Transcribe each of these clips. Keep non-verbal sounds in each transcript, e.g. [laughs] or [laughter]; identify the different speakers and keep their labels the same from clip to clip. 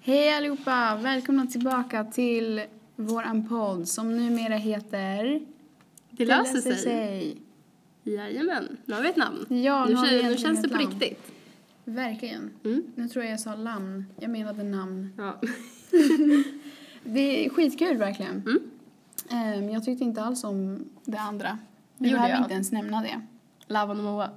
Speaker 1: Hej allihopa! Välkomna tillbaka till våran podd som numera heter...
Speaker 2: Det löser sig. Jajamän, nu har vi ett namn.
Speaker 1: Ja,
Speaker 2: nu
Speaker 1: har vi
Speaker 2: känns, nu
Speaker 1: äntligen
Speaker 2: känns det
Speaker 1: ett
Speaker 2: på
Speaker 1: namn.
Speaker 2: riktigt.
Speaker 1: Verkligen.
Speaker 2: Mm.
Speaker 1: Nu tror jag jag sa lamn. Jag menade namn.
Speaker 2: [laughs] Ja.
Speaker 1: Det är skitkul verkligen.
Speaker 2: Mm.
Speaker 1: Ehm, jag tyckte inte alls om det andra. Vi
Speaker 2: Gjorde
Speaker 1: behöver
Speaker 2: jag?
Speaker 1: inte ens nämna det.
Speaker 2: Lavan och Moa.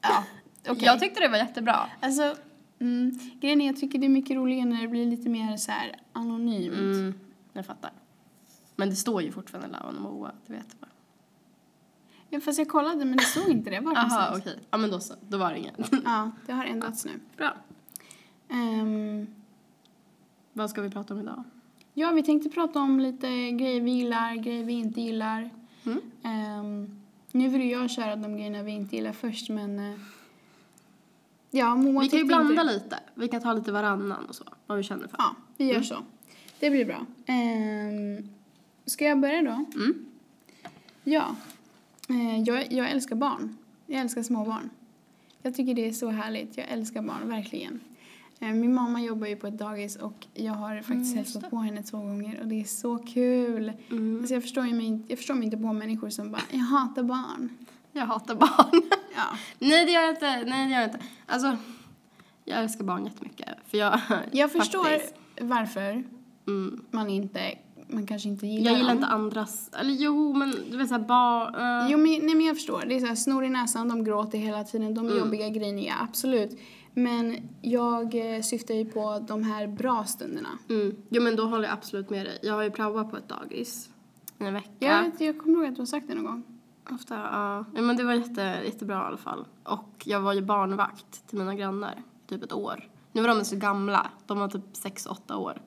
Speaker 1: Ja, okej.
Speaker 2: Jag tyckte det var jättebra.
Speaker 1: Alltså, mm, grejen är jag tycker det är mycket roligare när det blir lite mer så här anonymt.
Speaker 2: Mm, jag fattar. Men det står ju fortfarande Lavan och Moa, det vet jag bara.
Speaker 1: Ja, fast jag kollade men det stod inte det. Var
Speaker 2: Jaha,
Speaker 1: någonstans?
Speaker 2: okej. Ja, men då så. Då var det inget.
Speaker 1: Ja, det har ändrats nu.
Speaker 2: [laughs] bra.
Speaker 1: Ehm,
Speaker 2: Vad ska vi prata om idag?
Speaker 1: Ja, vi tänkte prata om lite grejer vi gillar, grejer vi inte gillar.
Speaker 2: Mm.
Speaker 1: Ehm, nu vill ju jag köra de grejerna vi inte gillar först, men... eh, ja, Moa
Speaker 2: vi kan ju
Speaker 1: tyckte
Speaker 2: blanda
Speaker 1: inte...
Speaker 2: lite. Vi kan ta lite varannan och så. Vad vi känner för.
Speaker 1: Ja, vi gör
Speaker 2: Mm.
Speaker 1: så. Det blir bra. Um, ska jag börja då?
Speaker 2: Mm.
Speaker 1: Ja. Eh, jag, jag älskar barn. Jag älskar småbarn. Jag tycker det är så härligt. Jag älskar barn, verkligen. Eh, Min mamma jobbar ju på ett dagis och jag har faktiskt
Speaker 2: Mm, just
Speaker 1: hälsat på henne två gånger och det är så kul.
Speaker 2: Mm.
Speaker 1: Alltså jag, förstår ju mig, inte- jag förstår mig inte på människor som bara “jag hatar barn”.
Speaker 2: Jag hatar barn. [laughs]
Speaker 1: Ja.
Speaker 2: Nej, det gör jag inte. Nej, det gör jag inte. Alltså, jag älskar barn jättemycket. För jag... [laughs]
Speaker 1: Jag förstår
Speaker 2: Faktiskt.
Speaker 1: varför
Speaker 2: Mm.
Speaker 1: man inte, man kanske inte gillar
Speaker 2: Jag gillar
Speaker 1: dem.
Speaker 2: inte andras, eller jo men du vet såhär barn, eh,
Speaker 1: Jo men, nej, men jag förstår, det är så här, snor i näsan, de gråter hela tiden, de är
Speaker 2: Mm.
Speaker 1: jobbiga, griniga, absolut. Men jag eh, syftar ju på de här bra stunderna.
Speaker 2: mm. jo men då håller jag absolut med dig. Jag har ju praoat på ett dagis i en vecka.
Speaker 1: Jag, vet, jag kommer ihåg att du har sagt det
Speaker 2: [laughs]
Speaker 1: någon gång.
Speaker 2: Ofta, ja. Ja, men det var jätte, jättebra i alla fall. Och jag var ju barnvakt till mina grannar, typ ett år. Nu var de så gamla, de var typ 6-8 år.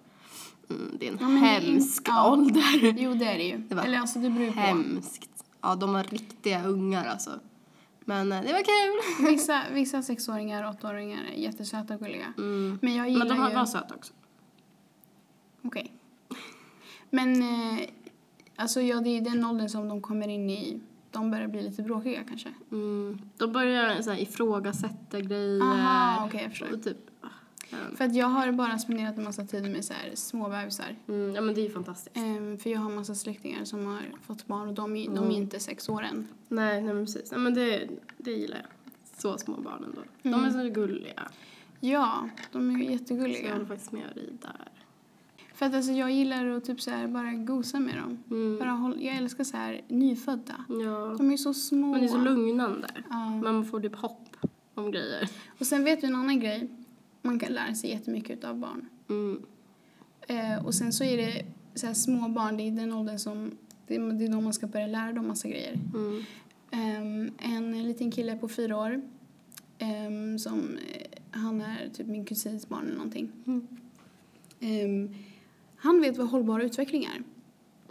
Speaker 2: Mm, det är en
Speaker 1: Ja, men det är ju-
Speaker 2: hemsk
Speaker 1: ja.
Speaker 2: ålder.
Speaker 1: Jo det är det ju.
Speaker 2: var
Speaker 1: Eller alltså det beror ju på.
Speaker 2: Hemskt. Ja, de var riktiga ungar alltså. Men eh, det var kul.
Speaker 1: Vissa, vissa sexåringar och åttaåringar är jättesöta och gulliga.
Speaker 2: Mm.
Speaker 1: Men jag gillar
Speaker 2: Men de var,
Speaker 1: ju...
Speaker 2: var söta också.
Speaker 1: Okej. Men eh, alltså ja, det är ju den åldern som de kommer in i. De börjar bli lite bråkiga kanske.
Speaker 2: Mm. De börjar så här, ifrågasätta grejer.
Speaker 1: Aha, okej, jag förstår.
Speaker 2: Och typ, ah, jag vet inte.
Speaker 1: För att jag har bara spenderat en massa tid med så här, små bebisar.
Speaker 2: mm, ja men det är ju fantastiskt.
Speaker 1: Ehm, för jag har en massa släktingar som har fått barn och de, är- de
Speaker 2: Mm.
Speaker 1: är inte sex år än.
Speaker 2: Nej, nej men precis. Ja, men det, det gillar jag. Så små barn ändå. De
Speaker 1: Mm.
Speaker 2: är så gulliga.
Speaker 1: Ja, de är
Speaker 2: Så jag
Speaker 1: jättegulliga.
Speaker 2: håller faktiskt med dig där.
Speaker 1: För att alltså, jag gillar att typ så här, bara gosa med dem.
Speaker 2: Mm.
Speaker 1: Bara håll, jag älskar så här, nyfödda.
Speaker 2: Ja.
Speaker 1: De är så små.
Speaker 2: Men det är så lugnande.
Speaker 1: Ja.
Speaker 2: Man får typ hopp om grejer.
Speaker 1: Och sen vet du en annan grej. Man kan lära sig jättemycket av barn.
Speaker 2: Mm.
Speaker 1: Eh, och sen så är det så här, små barn, det är den åldern som det är, det är då man ska börja lära dem massa grejer.
Speaker 2: Mm.
Speaker 1: Ehm, en liten kille på fyra år ehm, som, eh, han är typ min kusins barn eller någonting.
Speaker 2: Mm.
Speaker 1: Ehm, han vet vad hållbar utveckling är.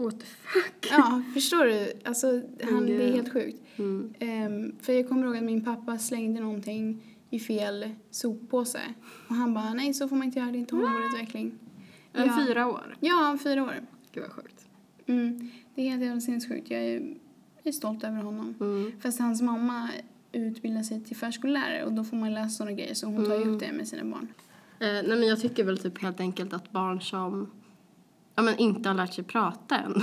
Speaker 2: What the fuck?
Speaker 1: Ja, förstår du? Alltså, han, det är
Speaker 2: gud.
Speaker 1: helt sjukt.
Speaker 2: Mm.
Speaker 1: Ehm, för jag kommer ihåg att min pappa slängde någonting i fel soppåse. Och han bara, nej så får man inte göra, det är inte hållbar utveckling.
Speaker 2: En
Speaker 1: Ja.
Speaker 2: fyra år.
Speaker 1: Ja, fyra år.
Speaker 2: Gud vad sjukt.
Speaker 1: Mm, det är helt jävla sinnessjukt. Jag är, jag är stolt över honom.
Speaker 2: Mm.
Speaker 1: Fast hans mamma utbildar sig till förskollärare och då får man läsa sådana grejer så hon tar ju
Speaker 2: Mm.
Speaker 1: upp det med sina barn.
Speaker 2: Eh, nej men jag tycker väl typ helt enkelt att barn som ja, men inte har lärt sig prata än [laughs]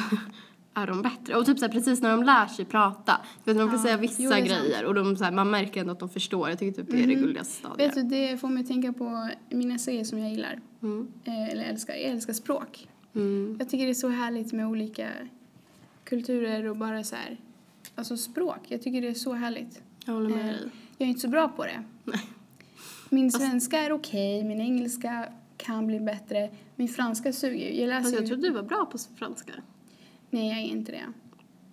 Speaker 2: är de bättre. Och typ så här, precis när de lär sig prata. Du Vet, de kan
Speaker 1: Ja,
Speaker 2: säga
Speaker 1: jo,
Speaker 2: vissa
Speaker 1: det är
Speaker 2: grejer och de, så här, man märker ändå att de förstår. Jag tycker typ det är det gulligaste stadiet.
Speaker 1: Vet du, det får mig att tänka på mina serier som jag gillar.
Speaker 2: Mm.
Speaker 1: Eh, eller älskar. Jag älskar språk.
Speaker 2: Mm.
Speaker 1: Jag tycker det är så härligt med olika kulturer och bara så här. Alltså språk. Jag tycker det är så härligt.
Speaker 2: Jag håller med
Speaker 1: Eh,
Speaker 2: dig.
Speaker 1: Jag är inte så bra på det. Min svenska är okej, min engelska kan bli bättre. Min franska suger ju. Jag läser
Speaker 2: Alltså,
Speaker 1: ju-
Speaker 2: jag trodde du var bra på franska.
Speaker 1: Nej, jag är inte det.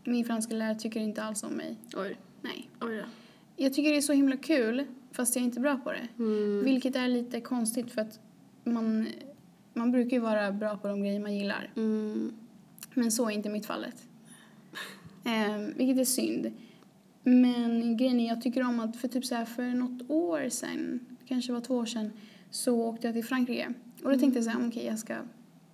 Speaker 1: Min franska lärare tycker inte alls om mig.
Speaker 2: Oj.
Speaker 1: Nej.
Speaker 2: Oj då.
Speaker 1: Jag tycker det är så himla kul, fast jag är inte bra på det.
Speaker 2: Mm.
Speaker 1: Vilket är lite konstigt för att man, man brukar ju vara bra på de grejer man gillar.
Speaker 2: Mm.
Speaker 1: Men så är inte mitt fallet. Ehm, vilket är synd. Men grejen är, jag tycker om att för typ så här för något år sedan, kanske var två år sedan, så åkte jag till Frankrike. Och då tänkte jag så här, okej jag ska,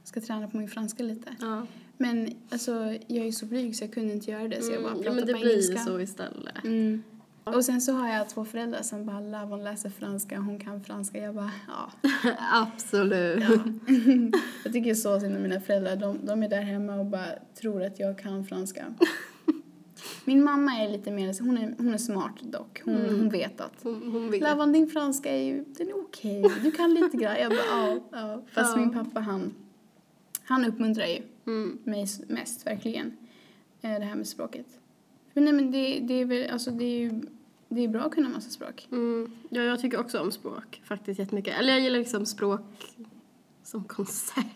Speaker 1: ska träna på min franska lite.
Speaker 2: Ja.
Speaker 1: Men alltså, jag är så blyg så jag kunde inte göra det så jag bara
Speaker 2: Mm.
Speaker 1: pratade
Speaker 2: ja men det
Speaker 1: på
Speaker 2: blir ju
Speaker 1: engelska.
Speaker 2: så istället.
Speaker 1: Mm. Och sen så har jag två föräldrar som bara Lavon läser franska, hon kan franska. Jag bara ja.
Speaker 2: [laughs] Absolut.
Speaker 1: Jag tycker så synd om mina föräldrar. De, de är där hemma och bara tror att jag kan
Speaker 2: [laughs]
Speaker 1: franska. Min mamma är lite mer, så- hon är, hon är smart dock. Hon,
Speaker 2: Mm.
Speaker 1: hon vet att
Speaker 2: Hon, hon vill.
Speaker 1: Lavan din franska är ju, den är okej. Du kan lite grann. Jag bara ja. ja. Fast
Speaker 2: Ja.
Speaker 1: min pappa han, han uppmuntrar ju
Speaker 2: Mm.
Speaker 1: mig s- mest verkligen. eh, Det här med språket. Men nej men det, det är väl, alltså det är ju, det är bra att kunna massa språk.
Speaker 2: Mm. Ja, jag tycker också om språk faktiskt jättemycket. Eller jag gillar liksom språk som koncept. [laughs]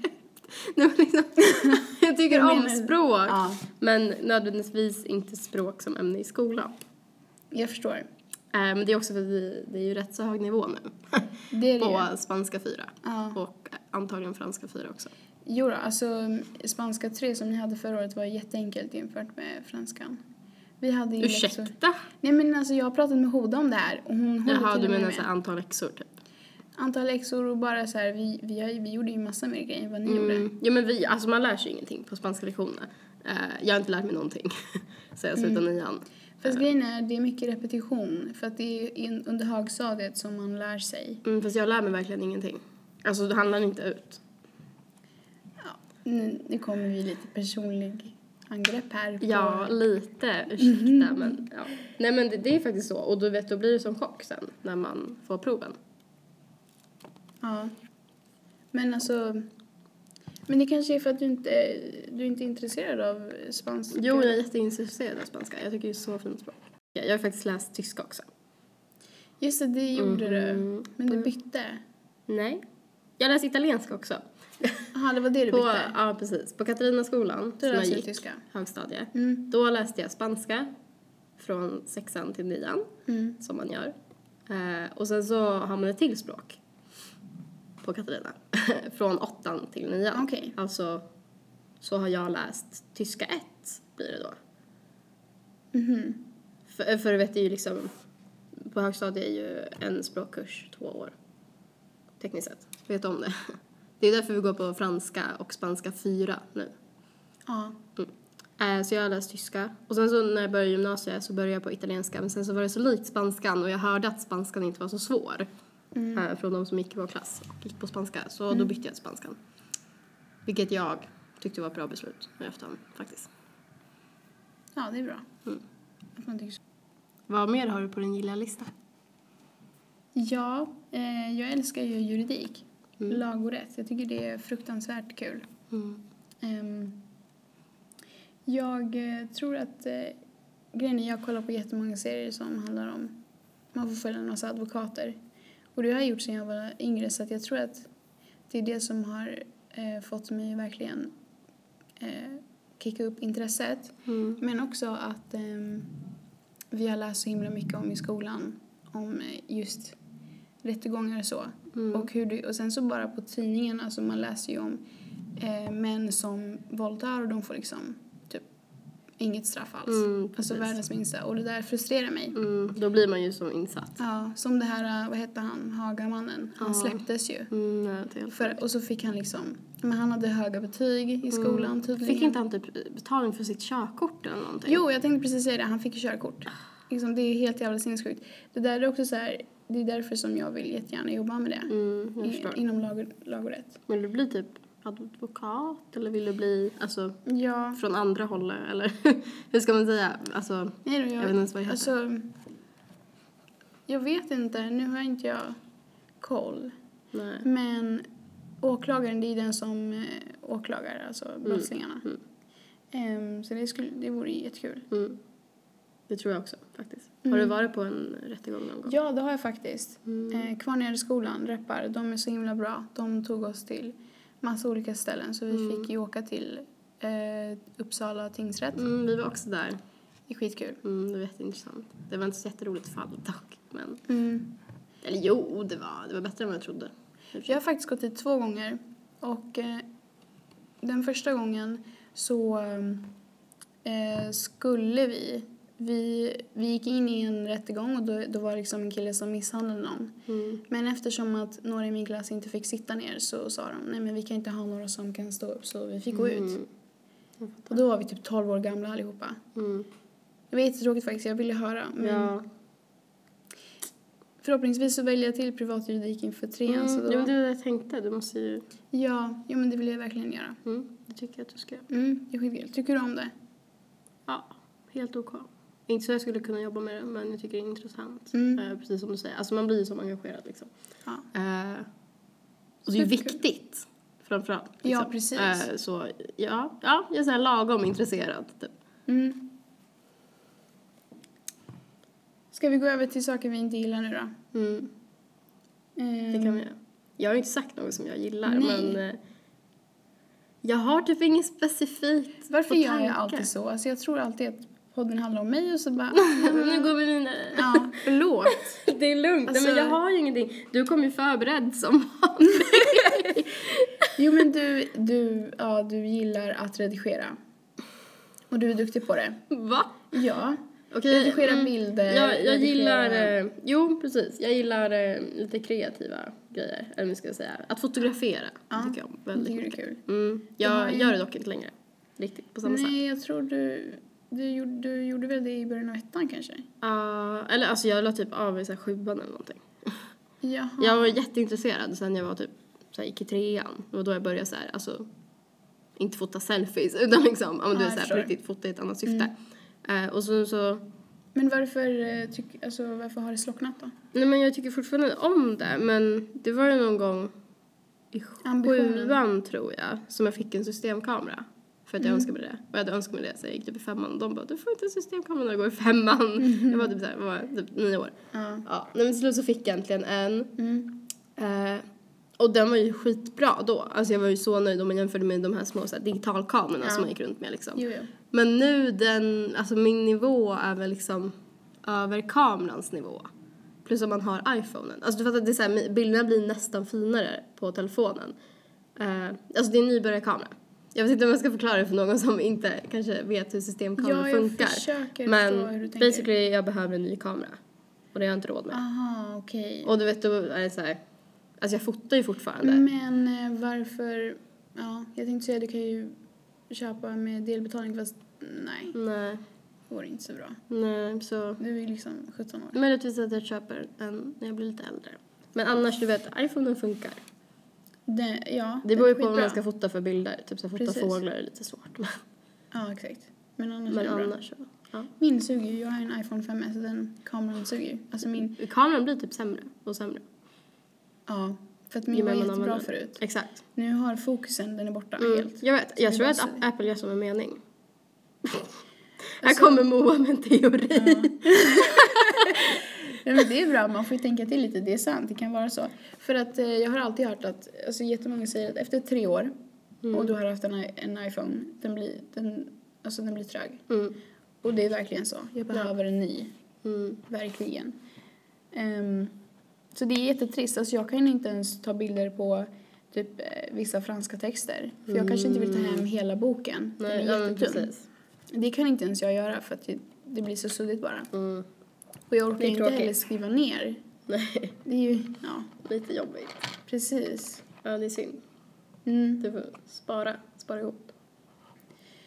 Speaker 2: Nej, men liksom, [laughs] jag tycker
Speaker 1: Jag
Speaker 2: om
Speaker 1: menar-
Speaker 2: språk.
Speaker 1: Ja,
Speaker 2: Men nödvändigtvis inte språk som ämne i skolan.
Speaker 1: jag förstår.
Speaker 2: Eh, Men det är också för att vi, det är ju rätt så hög nivå
Speaker 1: [laughs]
Speaker 2: nu.
Speaker 1: Det är det ju.
Speaker 2: På spanska 4.
Speaker 1: Ja.
Speaker 2: Och antagligen franska 4 också.
Speaker 1: Jo då, alltså spanska 3 som ni hade förra året var jätteenkelt jämfört med franskan. Vi hade ju
Speaker 2: Ursäkta?
Speaker 1: läxor. Nej men alltså jag har pratat med Hoda om det här och hon håller
Speaker 2: Jaha,
Speaker 1: till
Speaker 2: du
Speaker 1: och med
Speaker 2: menar
Speaker 1: med.
Speaker 2: så här antal läxor typ?
Speaker 1: Antal läxor och bara så här, vi, vi, har ju- vi gjorde ju massa mer grejer än vad ni gjorde.
Speaker 2: Mm. Ja men vi, alltså man lär sig ingenting på spanska lektionerna. Eh, jag har inte lärt mig någonting [laughs] sen jag slutade
Speaker 1: Mm.
Speaker 2: nian.
Speaker 1: Fast grejen är, det är mycket repetition. För att det är in, under högstadiet som man lär sig.
Speaker 2: Mm, fast jag lär mig verkligen ingenting. Alltså det handlar inte ut.
Speaker 1: Ja, nu, nu kommer vi lite personlig angrepp här. På,
Speaker 2: Ja, lite. Ursäkta men ja. Nej men det, det är faktiskt så. Och du vet, då blir det som chock sen när man får proven.
Speaker 1: ja. Men alltså... Men det kanske är för att du inte, du inte är intresserad av spanska.
Speaker 2: Jo, jag är jätteintresserad av spanska. Jag tycker det är så fint språk. Ja, Jag har faktiskt läst tyska också.
Speaker 1: Just det, det gjorde du.
Speaker 2: Mhm.
Speaker 1: Men du bytte.
Speaker 2: Nej. Jag läste italienska [laughs] också.
Speaker 1: Jaha, det var det du
Speaker 2: På,
Speaker 1: bytte?
Speaker 2: ja, precis. På Katarinaskolan,
Speaker 1: Då
Speaker 2: som jag
Speaker 1: läste du
Speaker 2: gick,
Speaker 1: tyska.
Speaker 2: högstadie.
Speaker 1: Mm.
Speaker 2: Då läste jag spanska från sexan till nian,
Speaker 1: Mm.
Speaker 2: som man gör. Eh, och sen så har man ett till språk på Katarina, [laughs] från åttan till nian.
Speaker 1: Okej.
Speaker 2: Alltså, så har jag läst tyska 1, blir det då.
Speaker 1: Mhm.
Speaker 2: För, för du vet, det är ju liksom, på högstadiet är ju en språkkurs två år. Tekniskt sett, vet du om det? [laughs] Det är därför vi går på franska och spanska 4 nu.
Speaker 1: Ja.
Speaker 2: Eh, Så jag har läst tyska. Och sen så när jag började gymnasiet så började jag på italienska. Men sen så var det så likt spanskan och jag hörde att spanskan inte var så svår.
Speaker 1: Mm.
Speaker 2: eh, Från de som gick i vår klass och gick på spanska. Så då bytte jag till spanskan. Vilket jag tyckte var ett bra beslut nu i efterhand faktiskt.
Speaker 1: ja, det är bra.
Speaker 2: Mm.
Speaker 1: Att man tycker så.
Speaker 2: Vad mer har du på din gilla lista?
Speaker 1: Ja, eh, jag älskar ju juridik.
Speaker 2: Mm.
Speaker 1: Lag och rätt. Jag tycker det är fruktansvärt kul.
Speaker 2: Mm.
Speaker 1: Ehm, jag eh, tror att eh, grejen är jag kollar på jättemånga serier som handlar om man får följa en massa advokater. Och det har jag gjort sedan jag var yngre så att jag tror att det är det som har eh, fått mig verkligen eh, kicka upp intresset.
Speaker 2: Mm.
Speaker 1: Men också att ehm, vi har läst så himla mycket om i skolan om eh, just rättegångar och så.
Speaker 2: Mm.
Speaker 1: Och, hur du, och sen så bara på tidningen, alltså man läser ju om eh, män som våldtar och de får liksom typ inget straff alls.
Speaker 2: Mm,
Speaker 1: alltså
Speaker 2: precis.
Speaker 1: världens minsta. Och det där frustrerar mig.
Speaker 2: Mm. Då blir man ju som insatt.
Speaker 1: Ja, som det här, eh, vad hette han, Hagamannen. Han
Speaker 2: Ja.
Speaker 1: släpptes ju.
Speaker 2: Mm, nej, det är helt
Speaker 1: För, och så fick han liksom, men han hade höga betyg i skolan tydligen.
Speaker 2: Mm. Fick inte han typ betalning för sitt körkort eller någonting?
Speaker 1: Jo, jag tänkte precis säga det. Han fick ju körkort. Liksom, det är helt jävla sinnessjukt. Det där är också så här, det är därför som jag vill jättegärna jobba med det.
Speaker 2: Mm, jag
Speaker 1: I,
Speaker 2: förstår.
Speaker 1: inom lag, och- lag och rätt.
Speaker 2: Vill du bli typ advokat eller vill du bli alltså,
Speaker 1: Ja.
Speaker 2: från andra hållet eller [laughs] hur ska man säga? Alltså,
Speaker 1: Nej då,
Speaker 2: jag
Speaker 1: jag,
Speaker 2: vet inte ens vad jag heter.
Speaker 1: alltså, jag vet inte, nu har inte jag koll.
Speaker 2: nej.
Speaker 1: Men åklagaren, det är den som eh, åklagar, alltså brottslingarna.
Speaker 2: mm.
Speaker 1: Ehm, så det, skulle, det vore ju jättekul.
Speaker 2: Mm. Det tror jag också faktiskt. Har
Speaker 1: Mm.
Speaker 2: du varit på en rättegång någon gång?
Speaker 1: Ja, det har jag faktiskt.
Speaker 2: Mm.
Speaker 1: Eh, Kvarnhedeskolan, Reppar, de är så himla bra. De tog oss till massa olika ställen så vi
Speaker 2: Mm.
Speaker 1: fick ju åka till eh, Uppsala tingsrätt.
Speaker 2: Mm, vi var också där.
Speaker 1: Det är skitkul.
Speaker 2: Mm, det var jätteintressant. Det var inte så jätteroligt fall dock. Men...
Speaker 1: Mm.
Speaker 2: Eller jo, det var, det var bättre än vad jag trodde.
Speaker 1: Jag har faktiskt gått dit två gånger. Och eh, den första gången så eh, skulle vi, vi... Vi gick in i en rättegång och då, då var det liksom en kille som misshandlade någon.
Speaker 2: Mm.
Speaker 1: Men eftersom att några i min klass inte fick sitta ner så sa de nej men vi kan inte ha några som kan stå upp så vi fick gå ut.
Speaker 2: Mm. Jag fattar.
Speaker 1: Och då var vi typ 12 år gamla allihopa.
Speaker 2: Mm.
Speaker 1: Mm. Det var jättetråkigt faktiskt, jag ville höra. Men
Speaker 2: Ja.
Speaker 1: Förhoppningsvis så väljer jag till privatjuridik inför trean.
Speaker 2: Mm,
Speaker 1: så alltså då,
Speaker 2: det var det jag tänkte. Du måste ju...
Speaker 1: Ja, ja, men det vill jag verkligen göra.
Speaker 2: Mm, det tycker jag att du ska göra.
Speaker 1: Mm, det är skitkul. Tycker du om det?
Speaker 2: Ja, helt OK. Inte så jag skulle kunna jobba med det, men jag tycker det är intressant.
Speaker 1: Mm.
Speaker 2: Eh, precis som du säger. Alltså man blir ju som engagerad liksom.
Speaker 1: Ja.
Speaker 2: Eh, och det är ju
Speaker 1: Superkul.
Speaker 2: viktigt, framförallt. Liksom.
Speaker 1: Ja, precis.
Speaker 2: Eh, så ja, ja, jag är så här lagom intresserad. Typ.
Speaker 1: Mm. Ska vi gå över till saker vi inte gillar nu då?
Speaker 2: Mm,
Speaker 1: Ehm,
Speaker 2: det kan vi göra. Jag har ju inte sagt något som jag gillar,
Speaker 1: Nej.
Speaker 2: men eh, jag har typ inget specifikt
Speaker 1: Varför
Speaker 2: på
Speaker 1: gör jag
Speaker 2: tankar.
Speaker 1: alltid så? Alltså jag tror alltid att podden handlar om mig och så bara... mm.
Speaker 2: Nej, men [laughs] nu går vi vidare.
Speaker 1: ja,
Speaker 2: Förlåt. [laughs] Det är lugnt.
Speaker 1: Alltså-
Speaker 2: Nej, men jag har ju ingenting. Du kom ju förberedd som [laughs]
Speaker 1: Jo men du, du, ja, du gillar att redigera. Och du är duktig på det.
Speaker 2: Va?
Speaker 1: Ja.
Speaker 2: Okej.
Speaker 1: Redigera
Speaker 2: mm.
Speaker 1: bilder.
Speaker 2: Jag, jag
Speaker 1: redigera-
Speaker 2: gillar, eh, jo precis, jag gillar eh, lite kreativa grejer, eller hur ska jag säga, att fotografera
Speaker 1: Ja,
Speaker 2: tycker jag om
Speaker 1: Jag
Speaker 2: väldigt
Speaker 1: tycker det är
Speaker 2: mycket.
Speaker 1: kul.
Speaker 2: Mm.
Speaker 1: Jag har
Speaker 2: Jag
Speaker 1: ju-
Speaker 2: gör det dock inte längre, riktigt på samma sätt.
Speaker 1: Nej, jag tror du, du, gjorde, du gjorde väl det i början av ettan kanske?
Speaker 2: Ja, eller alltså jag la typ av i så här sjuan eller någonting.
Speaker 1: Jaha.
Speaker 2: Jag var jätteintresserad sen jag var typ, så här, gick i trean, det var då jag började så här, alltså inte fota selfies [laughs] utan liksom, ja men
Speaker 1: Ja,
Speaker 2: du
Speaker 1: jag
Speaker 2: vet såhär på
Speaker 1: förstår. Mm.
Speaker 2: riktigt fota i ett annat syfte. Eh, och sen så
Speaker 1: Men varför, eh, tyck, alltså, varför har det slocknat då?
Speaker 2: Nej men jag tycker fortfarande om det men det var ju någon gång i
Speaker 1: Ambitionen.
Speaker 2: sjuan tror jag som jag fick en systemkamera. För att jag
Speaker 1: Mm.
Speaker 2: önskade mig det. Och jag hade önskat mig det så jag gick typ i femman och de bara du får inte en systemkamera när du går i femman.
Speaker 1: Mm.
Speaker 2: [laughs] Jag var typ, så här, var typ nio år.
Speaker 1: Ja.
Speaker 2: Ja, nej, men till slut så fick jag äntligen en.
Speaker 1: Mm.
Speaker 2: Eh, och den var ju skitbra då. Alltså jag var ju så nöjd om man jämförde med de här små så här, digitalkamerorna
Speaker 1: Ja.
Speaker 2: som man gick runt med liksom.
Speaker 1: Jo, jo.
Speaker 2: Men nu den, alltså min nivå är väl liksom över kamerans nivå. Plus om man har iPhonen. Alltså du fattar, det är så här, bilderna blir nästan finare på telefonen. Eh, alltså det är en nybörjarkamera. Jag vet inte om jag ska förklara det för någon som inte kanske vet hur systemkameror
Speaker 1: Ja, jag
Speaker 2: funkar.
Speaker 1: försöker förstå hur du
Speaker 2: Men
Speaker 1: tänker.
Speaker 2: basically jag behöver en ny kamera. Och det har jag inte råd med.
Speaker 1: Aha, okej.
Speaker 2: Och du vet då är det så här, alltså jag fotar ju fortfarande.
Speaker 1: Men eh, varför, ja, jag tänkte säga du kan ju köpa med delbetalning fast nej,
Speaker 2: Nej,
Speaker 1: det vore inte så bra.
Speaker 2: nej så.
Speaker 1: Du är ju liksom 17 år.
Speaker 2: Möjligtvis att jag köper en när jag blir lite äldre. Men annars, du vet, iPhonen funkar.
Speaker 1: Det, ja,
Speaker 2: Det beror
Speaker 1: är
Speaker 2: ju på vad
Speaker 1: skitbra.
Speaker 2: man ska fota för bilder. Typ så här, fota
Speaker 1: Precis. Mm.
Speaker 2: fåglar är lite svårt. Men,
Speaker 1: Ja, exakt. Men annars
Speaker 2: men
Speaker 1: är det bra.
Speaker 2: annars så. Ja.
Speaker 1: Min suger ju, jag har ju en iPhone 5S så den kameran suger ju. Alltså min,
Speaker 2: Kameran blir typ sämre och sämre.
Speaker 1: ja. För att
Speaker 2: Ju
Speaker 1: min var
Speaker 2: mer man
Speaker 1: jättebra
Speaker 2: använder.
Speaker 1: förut.
Speaker 2: Exakt.
Speaker 1: Nu har fokusen, den är borta
Speaker 2: Mm,
Speaker 1: helt.
Speaker 2: jag vet, jag
Speaker 1: Det
Speaker 2: tror
Speaker 1: är
Speaker 2: att
Speaker 1: bara så.
Speaker 2: App- Apple gör som en mening. Här
Speaker 1: Alltså-
Speaker 2: kommer Moa med en [laughs] teori.
Speaker 1: Nej, men det är bra, man får ju tänka till lite. Det är sant, det kan vara så. För att eh, jag har alltid hört att, alltså jättemånga säger att efter tre år
Speaker 2: Mm.
Speaker 1: och du har haft en, i- en iPhone, den blir, den, alltså den blir trög.
Speaker 2: Mm.
Speaker 1: Och det är verkligen så. Jag behöver en ny,
Speaker 2: Mm.
Speaker 1: verkligen. Ehm, så det är jättetrist, alltså jag kan inte ens ta bilder på typ eh, vissa franska texter. För jag kanske inte vill ta hem hela boken.
Speaker 2: Mm. Nej,
Speaker 1: den
Speaker 2: ja,
Speaker 1: är
Speaker 2: men
Speaker 1: jättetung.
Speaker 2: precis.
Speaker 1: Det kan inte ens jag göra för att det, det blir så suddigt bara.
Speaker 2: Mm.
Speaker 1: Och jag
Speaker 2: Det
Speaker 1: orkar
Speaker 2: är
Speaker 1: inte
Speaker 2: tråkigt.
Speaker 1: heller skriva ner.
Speaker 2: Nej,
Speaker 1: Det är ju, ja,
Speaker 2: lite jobbigt.
Speaker 1: precis.
Speaker 2: Ja, det är synd.
Speaker 1: Mm.
Speaker 2: Du får spara, spara ihop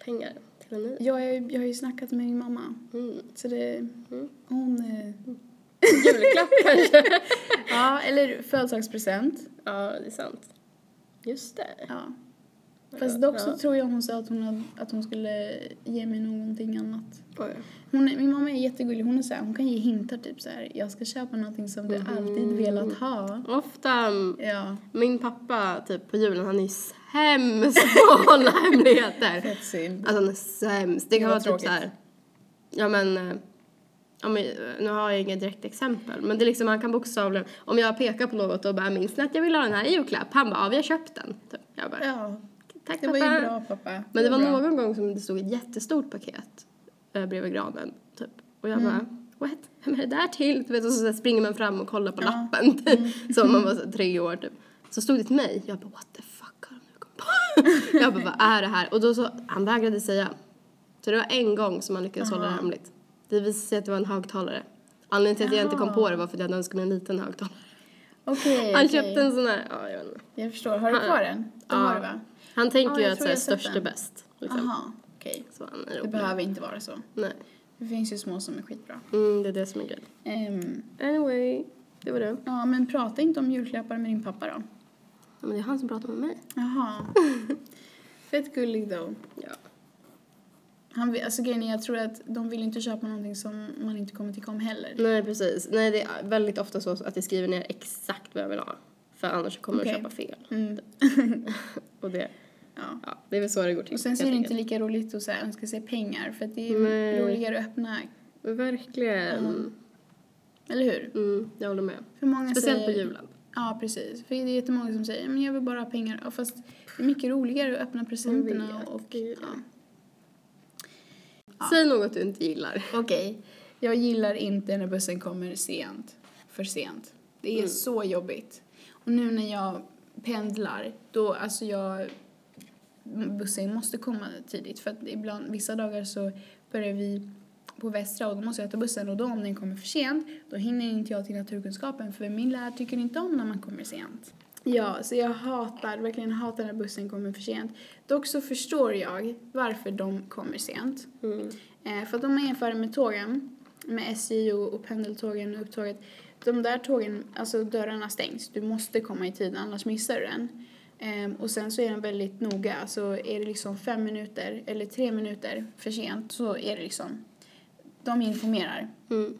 Speaker 2: pengar till en ny.
Speaker 1: Jag, är- jag har ju snackat med min mamma.
Speaker 2: Mm.
Speaker 1: Så det,
Speaker 2: Mm.
Speaker 1: hon...
Speaker 2: [laughs]
Speaker 1: eh,
Speaker 2: Julklapp [laughs] kanske?
Speaker 1: Ja, eller födelsedagspresent.
Speaker 2: Ja, det är sant. Just det.
Speaker 1: Ja. Fast dock
Speaker 2: Ja.
Speaker 1: så tror jag hon sa att hon, hade, att hon skulle ge mig någonting annat.
Speaker 2: Oj.
Speaker 1: Hon, är- min mamma är jättegullig. Hon är så här, hon kan ge hintar typ så här. Jag ska köpa någonting som du
Speaker 2: Mhm.
Speaker 1: alltid velat ha.
Speaker 2: Ofta, mm,
Speaker 1: Ja,
Speaker 2: min pappa typ på julen, han är ju sämst på att hålla hemligheter.
Speaker 1: fett synd.
Speaker 2: Alltså han är sämst. Det kan
Speaker 1: Vad
Speaker 2: vara
Speaker 1: tråkigt.
Speaker 2: typ såhär, ja men, eh, ja, men, eh, nu har jag inget direkt exempel men det är liksom, han kan bokstavligen, om jag pekar på något och bara minns ni att jag ville ha den här i julklapp? Han bara, ja vi har köpt den. Typ. Jag bara,
Speaker 1: Ja,
Speaker 2: tack
Speaker 1: det
Speaker 2: pappa.
Speaker 1: var ju bra pappa.
Speaker 2: Men det var
Speaker 1: bra.
Speaker 2: någon gång som det stod ett jättestort paket eh, bredvid granen typ. Och jag
Speaker 1: Mm.
Speaker 2: bara, what? Vem är det där till? Du vet, och så, så springer man fram och kollar på
Speaker 1: Ja. Mm.
Speaker 2: lappen. Typ. Som man var så, här tre år typ. Så stod det till mig. Jag bara, what the fuck har de nu kommit på? [laughs] jag bara, vad är det här? Och då så, han vägrade säga. Så det var en gång som han lyckades hålla det
Speaker 1: Aha.
Speaker 2: hemligt. Det visade sig att det var en högtalare. Anledningen till att jag inte kom
Speaker 1: Jaha.
Speaker 2: på det var för att jag hade önskat mig en liten högtalare.
Speaker 1: Okej,
Speaker 2: Han
Speaker 1: okej.
Speaker 2: köpte en sån här, ja jag vet inte.
Speaker 1: Jag förstår. Har du kvar den? De
Speaker 2: Ja.
Speaker 1: har det va?
Speaker 2: Han tänker
Speaker 1: Ja,
Speaker 2: ju
Speaker 1: jag
Speaker 2: att så
Speaker 1: tror
Speaker 2: här,
Speaker 1: jag har sett
Speaker 2: störst är
Speaker 1: den.
Speaker 2: bäst. Liksom.
Speaker 1: Aha, okej.
Speaker 2: Så han är
Speaker 1: Det
Speaker 2: rolig.
Speaker 1: behöver inte vara så.
Speaker 2: Nej.
Speaker 1: Det finns ju små som är skitbra.
Speaker 2: Mm, det är det som är grejen.
Speaker 1: Ehm,
Speaker 2: Anyway. Det var det.
Speaker 1: Ja, men prata inte om julklappar med din pappa då.
Speaker 2: Ja, men det är han som pratar med mig.
Speaker 1: Jaha. [laughs] Fett gullig då.
Speaker 2: Ja.
Speaker 1: Han vill, alltså grejen är, jag tror att de vill inte köpa någonting som man inte kommer tycka om heller.
Speaker 2: Nej, precis. Nej, det är väldigt ofta så att jag skriver ner exakt vad jag vill ha. För annars kommer jag
Speaker 1: Okej.
Speaker 2: köpa fel.
Speaker 1: Mm.
Speaker 2: Och det,
Speaker 1: Ja.
Speaker 2: ja, det är väl så det går till.
Speaker 1: Och sen så är
Speaker 2: helt
Speaker 1: det inte
Speaker 2: enkelt.
Speaker 1: lika roligt att så här, önska sig pengar för att det är
Speaker 2: Nej.
Speaker 1: roligare att öppna,
Speaker 2: Verkligen.
Speaker 1: Mm. eller hur?
Speaker 2: Mm, jag håller med.
Speaker 1: För många
Speaker 2: Speciellt på
Speaker 1: säger,
Speaker 2: julen.
Speaker 1: Ja, precis. För det är jättemånga som säger men jag vill bara ha pengar. Ja, fast det är mycket roligare att öppna
Speaker 2: Jag
Speaker 1: presenterna
Speaker 2: vet,
Speaker 1: och...
Speaker 2: det är det.
Speaker 1: Ja.
Speaker 2: Säg något du inte gillar.
Speaker 1: Okej. Jag gillar inte när bussen kommer sent. För sent. Det är så jobbigt. Och nu när jag pendlar, då alltså jag... Bussen måste komma tidigt för att ibland, vissa dagar så börjar vi på Västra och då måste jag ta bussen och då om den kommer för sent då hinner inte jag till naturkunskapen för min lärare tycker inte om när man kommer sent. Ja, så jag hatar, verkligen hatar när bussen kommer för sent. Dock så förstår jag varför de kommer sent.
Speaker 2: Mm.
Speaker 1: Eh, för att om man jämför med tågen, med SJ och, och pendeltågen och upptåget, de där tågen, alltså dörrarna stängs. Du måste komma i tid, annars missar du den. Ehm, och sen så är den väldigt noga, alltså är det liksom fem minuter eller tre minuter för sent så är det liksom, de informerar
Speaker 2: Mm.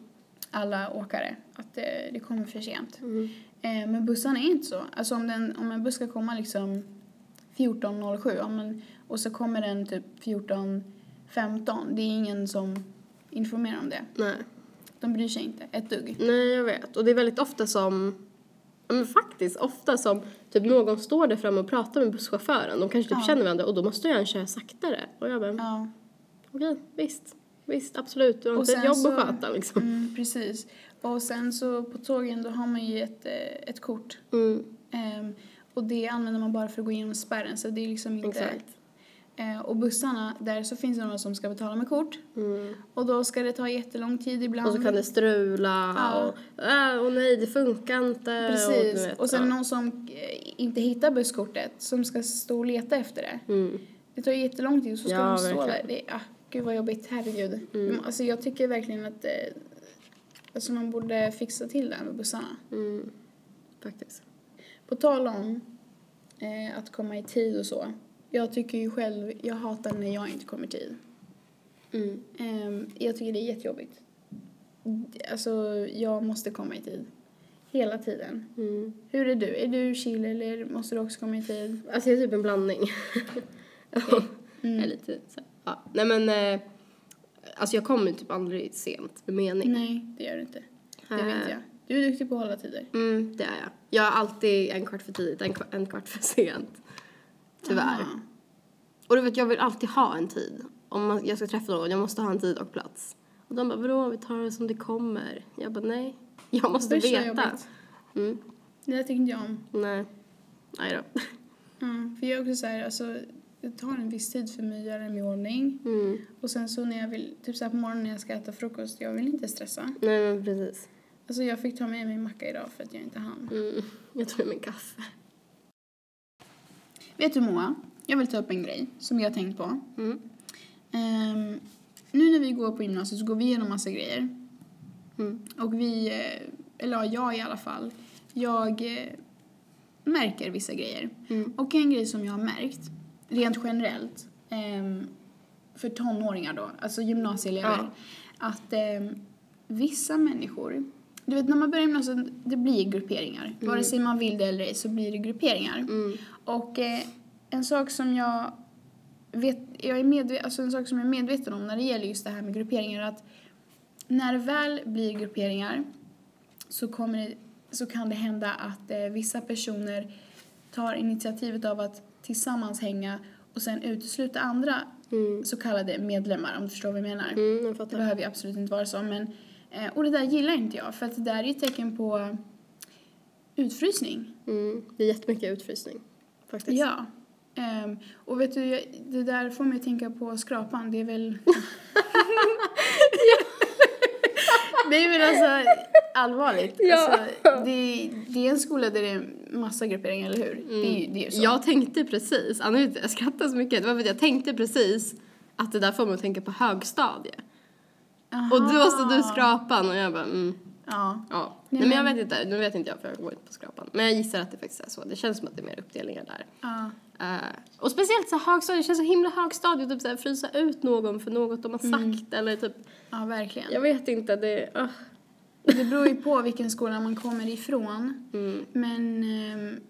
Speaker 1: alla åkare att eh, det, det kommer för sent.
Speaker 2: Mm.
Speaker 1: Eh, men bussarna är inte så. Alltså om, den, om en buss ska komma liksom 14.07 ja, men, och så kommer den typ 14.15, det är ingen som informerar om det.
Speaker 2: Nej.
Speaker 1: De bryr sig inte ett dugg.
Speaker 2: Nej, jag vet. Och det är väldigt ofta som, ja, men faktiskt ofta som typ någon står där framme och pratar med busschauffören. De kanske typ
Speaker 1: Ja.
Speaker 2: känner varandra och då måste jag köra saktare. Och jag bara,
Speaker 1: Ja.
Speaker 2: okej, visst. Visst, absolut. Du har
Speaker 1: Och
Speaker 2: inte ett
Speaker 1: sen
Speaker 2: jobb
Speaker 1: så-
Speaker 2: att sköta liksom. [laughs]
Speaker 1: Mm, precis. Och sen så på tågen då har man ju ett, eh, ett kort
Speaker 2: Mm,
Speaker 1: ehm, och det använder man bara för att gå igenom spärren så det är liksom inte...
Speaker 2: exakt.
Speaker 1: Eh, och bussarna, där så finns det några som ska betala med kort
Speaker 2: Mm.
Speaker 1: och då ska det ta jättelång tid ibland.
Speaker 2: Och så kan det strula
Speaker 1: Ja.
Speaker 2: och, äh, och nej, det funkar inte. Eh, Och,
Speaker 1: Precis,
Speaker 2: du vet,
Speaker 1: och sen
Speaker 2: ja.
Speaker 1: någon som eh, inte hittar busskortet som ska stå och leta efter det.
Speaker 2: Mm.
Speaker 1: Det tar ju jättelång tid och så ska
Speaker 2: Ja,
Speaker 1: de stå
Speaker 2: verkligen.
Speaker 1: där. Det, ah, gud vad jobbigt, herregud. Mm. Alltså jag tycker verkligen att eh, alltså man borde fixa till det här med bussarna.
Speaker 2: Mm. Faktiskt.
Speaker 1: På tal om eh, att komma i tid och så. Jag tycker ju själv, jag hatar när jag inte kommer i tid.
Speaker 2: Mm.
Speaker 1: Ehm, jag tycker det är jättejobbigt. Alltså jag måste komma i tid. Hela tiden.
Speaker 2: Mm.
Speaker 1: Hur är du? Är du chill eller måste du också komma i tid?
Speaker 2: Alltså jag är typ en blandning. [laughs]
Speaker 1: Mm.
Speaker 2: Eller lite så. här, Ja. Nej men, eh, alltså jag kommer typ aldrig sent med mening.
Speaker 1: Nej, det gör du inte. Det vet
Speaker 2: Eh,
Speaker 1: jag. Du är duktig på att hålla tider.
Speaker 2: Mm, det är jag. Jag är alltid en kvart för tidigt, en kvart, en kvart för sent. Tyvärr.
Speaker 1: Aha.
Speaker 2: Och du vet, jag vill alltid ha en tid. Om man, jag ska träffa någon, jag måste ha en tid och plats. Och de bara, vadå, vi tar det som det kommer. Jag bara, nej. [laughs] Jag måste
Speaker 1: Värsta
Speaker 2: veta.
Speaker 1: jobbigt.
Speaker 2: Mm,
Speaker 1: Det där tyckte jag om.
Speaker 2: nej. Nej då. [laughs]
Speaker 1: Mm. För jag är också så här, alltså, det tar en viss tid för mig att göra dem i ordning.
Speaker 2: Mm.
Speaker 1: Och sen så när jag vill, typ så här på morgonen när jag ska äta frukost, jag vill inte stressa.
Speaker 2: Nej men precis.
Speaker 1: Alltså jag fick ta med mig macka idag för att jag inte hann.
Speaker 2: Mm. Jag tog med mig kaffe.
Speaker 1: Vet du Moa, jag vill ta upp en grej som jag har tänkt på.
Speaker 2: Mm.
Speaker 1: Ehm, nu när vi går på gymnasiet så går vi igenom massa grejer.
Speaker 2: Mm.
Speaker 1: Och vi, eh, eller ja, jag i alla fall, jag eh, märker vissa grejer.
Speaker 2: Mm.
Speaker 1: Och en grej som jag har märkt, rent generellt, ehm, för tonåringar då, alltså gymnasieelever,
Speaker 2: Ja.
Speaker 1: att ehm, vissa människor, du vet när man börjar gymnasiet, det blir grupperingar. Vare sig man vill det eller ej så blir det grupperingar.
Speaker 2: Mm.
Speaker 1: Och eh, en sak som jag vet, jag är medveten, alltså en sak som jag är medveten om när det gäller just det här med grupperingar är att när det väl blir grupperingar så, kommer det, så kan det hända att eh, vissa personer tar initiativet av att tillsammans hänga och sen utesluta andra
Speaker 2: Mm.
Speaker 1: så kallade medlemmar om du förstår vad jag menar.
Speaker 2: Mm,
Speaker 1: Det
Speaker 2: jag fattar.
Speaker 1: behöver ju absolut inte vara så. Men, eh, och det där gillar inte jag för att det där är ju ett tecken på utfrysning.
Speaker 2: Mm. Det är jättemycket utfrysning. Faktiskt.
Speaker 1: Ja. Ehm, och vet du, jag- det där får mig att tänka på skrapan. Det är väl... [laughs] det är väl alltså allvarligt.
Speaker 2: Ja.
Speaker 1: Alltså, det, det är en skola där det är massa grupperingar, eller hur? Det, är ju- det är ju så.
Speaker 2: Mm. Jag tänkte precis, Anna, jag skrattar så mycket, det var för att jag tänkte precis att det där får mig att tänka på högstadie.
Speaker 1: Aha.
Speaker 2: Och då stod du i skrapan och jag bara, mm,
Speaker 1: Ja.
Speaker 2: ja. Nej, men jag vet inte, nu vet inte jag för jag går inte på skrapan. Men jag gissar att det faktiskt är så. Det känns som att det är mer uppdelningar där.
Speaker 1: Ja.
Speaker 2: Eh, och speciellt så högstadiet, det känns så himla högstadiet. Typ såhär frysa ut någon för något de har sagt eller typ.
Speaker 1: ja, verkligen.
Speaker 2: Jag vet inte, det... ah.
Speaker 1: Det beror ju på vilken skola man kommer ifrån.
Speaker 2: Mm.
Speaker 1: Men... ehm,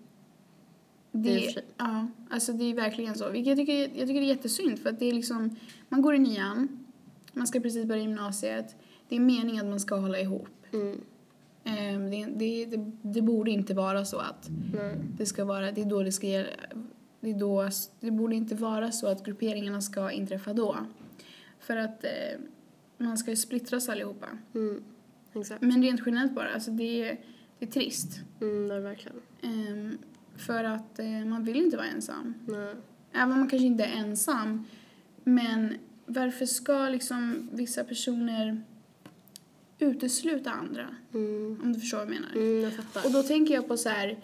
Speaker 2: Det är för
Speaker 1: det,
Speaker 2: sig.
Speaker 1: ja, alltså det är verkligen så. Vilket jag tycker, jag tycker det är jättesynd för att det är liksom... Man går i nian, man ska precis börja gymnasiet. Det är meningen att man ska hålla ihop.
Speaker 2: Mm.
Speaker 1: Ehm, Det, det, det, det borde inte vara så att
Speaker 2: Nej.
Speaker 1: det ska vara... Det är då det ska... ge- Det, är då, det borde inte vara så att grupperingarna ska inträffa då. För att eh, man ska ju splittras allihopa.
Speaker 2: Mm. Exakt.
Speaker 1: Men rent generellt bara, alltså det, är- det är trist.
Speaker 2: Mm, det är verkligen.
Speaker 1: Ehm, för att eh, man vill inte vara ensam.
Speaker 2: Nej.
Speaker 1: Även om man kanske inte är ensam. Men varför ska liksom vissa personer utesluta andra?
Speaker 2: Mm.
Speaker 1: Om du förstår vad jag menar.
Speaker 2: Mm, jag fattar.
Speaker 1: Och då tänker jag på så här,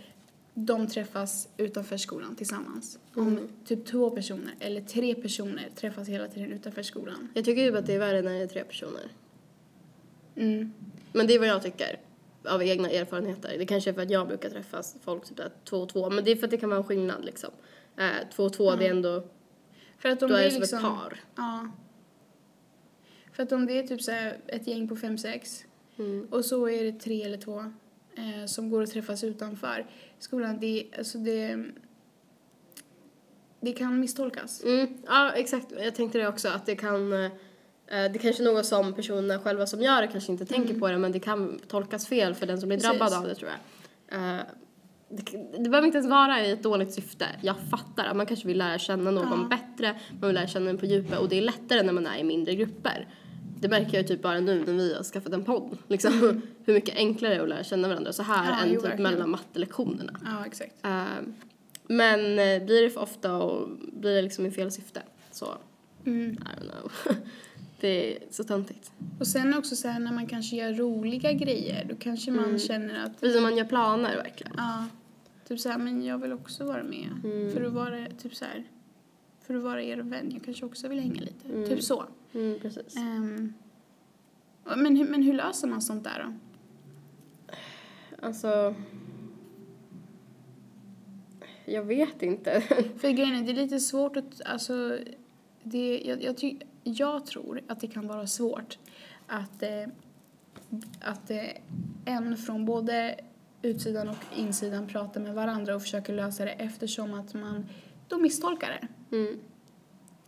Speaker 1: de träffas utanför skolan tillsammans.
Speaker 2: Mm.
Speaker 1: Om typ två personer eller tre personer träffas hela tiden utanför skolan.
Speaker 2: Jag tycker ju att det är värre när det är tre personer.
Speaker 1: Mm.
Speaker 2: Men det är vad jag tycker av egna erfarenheter. Det kanske är för att jag brukar träffa folk typ där två och två. Men det är för att det kan vara en skillnad liksom. Eh, två och två, det är ändå...
Speaker 1: För att
Speaker 2: Då
Speaker 1: om
Speaker 2: är
Speaker 1: det
Speaker 2: det
Speaker 1: är
Speaker 2: som
Speaker 1: liksom...
Speaker 2: ett par.
Speaker 1: Ja. För att om det är typ så här ett gäng på fem, sex
Speaker 2: Mm.
Speaker 1: och så är det tre eller två eh, som går och träffas utanför skolan, det, alltså det, det kan misstolkas.
Speaker 2: Mm, ja, exakt. Jag tänkte det också, att det kan... eh, Det kanske är något som personerna själva som gör det kanske inte tänker på det, men det kan tolkas fel för den som blir
Speaker 1: Precis.
Speaker 2: drabbad av det, tror jag. Eh, Det, det behöver inte ens vara i ett dåligt syfte. Jag fattar att man kanske vill lära känna någon bättre, man vill lära känna den på djupet och det är lättare när man är i mindre grupper. Det märker jag ju typ bara nu när vi har skaffat en podd, liksom, hur mycket enklare det är att lära känna varandra så här
Speaker 1: Ja,
Speaker 2: än
Speaker 1: jo,
Speaker 2: typ
Speaker 1: verkligen.
Speaker 2: mellan mattelektionerna.
Speaker 1: Ja, exakt.
Speaker 2: Eh, men eh, blir det för ofta och blir det liksom i fel syfte så, I
Speaker 1: Mm.
Speaker 2: don't know. [laughs] det är så töntigt.
Speaker 1: Och sen också så här när man kanske gör roliga grejer, då kanske man känner att
Speaker 2: Mm. Precis som man gör planer verkligen.
Speaker 1: Ja. Typ såhär, men jag vill också vara med.
Speaker 2: Mm.
Speaker 1: För att vara, typ såhär, för att vara er vän. Jag kanske också vill hänga lite.
Speaker 2: Mm.
Speaker 1: Typ så.
Speaker 2: Mm, precis.
Speaker 1: Ehm, och- men, hur- men hur löser man sånt där då?
Speaker 2: Alltså... Jag vet inte. [laughs]
Speaker 1: För grejen är, det är lite svårt att, alltså, det, jag, jag, ty, jag tror att det kan vara svårt att, eh, att eh, en från både utsidan och insidan pratar med varandra och försöker lösa det eftersom att man då misstolkar det.
Speaker 2: Mm.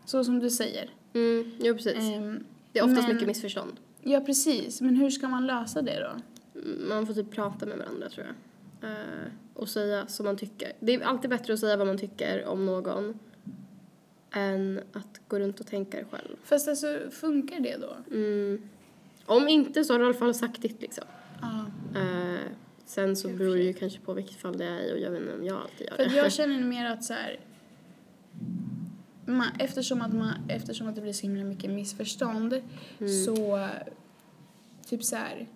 Speaker 1: Så som du säger.
Speaker 2: Mm, jo, precis.
Speaker 1: Ehm,
Speaker 2: det är oftast
Speaker 1: men-
Speaker 2: mycket missförstånd.
Speaker 1: Ja, precis. Men hur ska man lösa det då?
Speaker 2: Man får typ prata med varandra tror jag. Eh, och säga som man tycker. Det är alltid bättre att säga vad man tycker om någon än att gå runt och tänka det själv.
Speaker 1: Fast alltså, funkar det då?
Speaker 2: Mm. Om inte så har du i alla fall sagt ditt liksom.
Speaker 1: Ja.
Speaker 2: Eh, sen så
Speaker 1: Jag
Speaker 2: beror det ju kanske på vilket fall det är i och jag vet inte om jag alltid gör
Speaker 1: För att
Speaker 2: det.
Speaker 1: jag känner mer att så här... Man, eftersom, att man, eftersom att det blir så himla mycket missförstånd
Speaker 2: Mm.
Speaker 1: så eh, typ så här...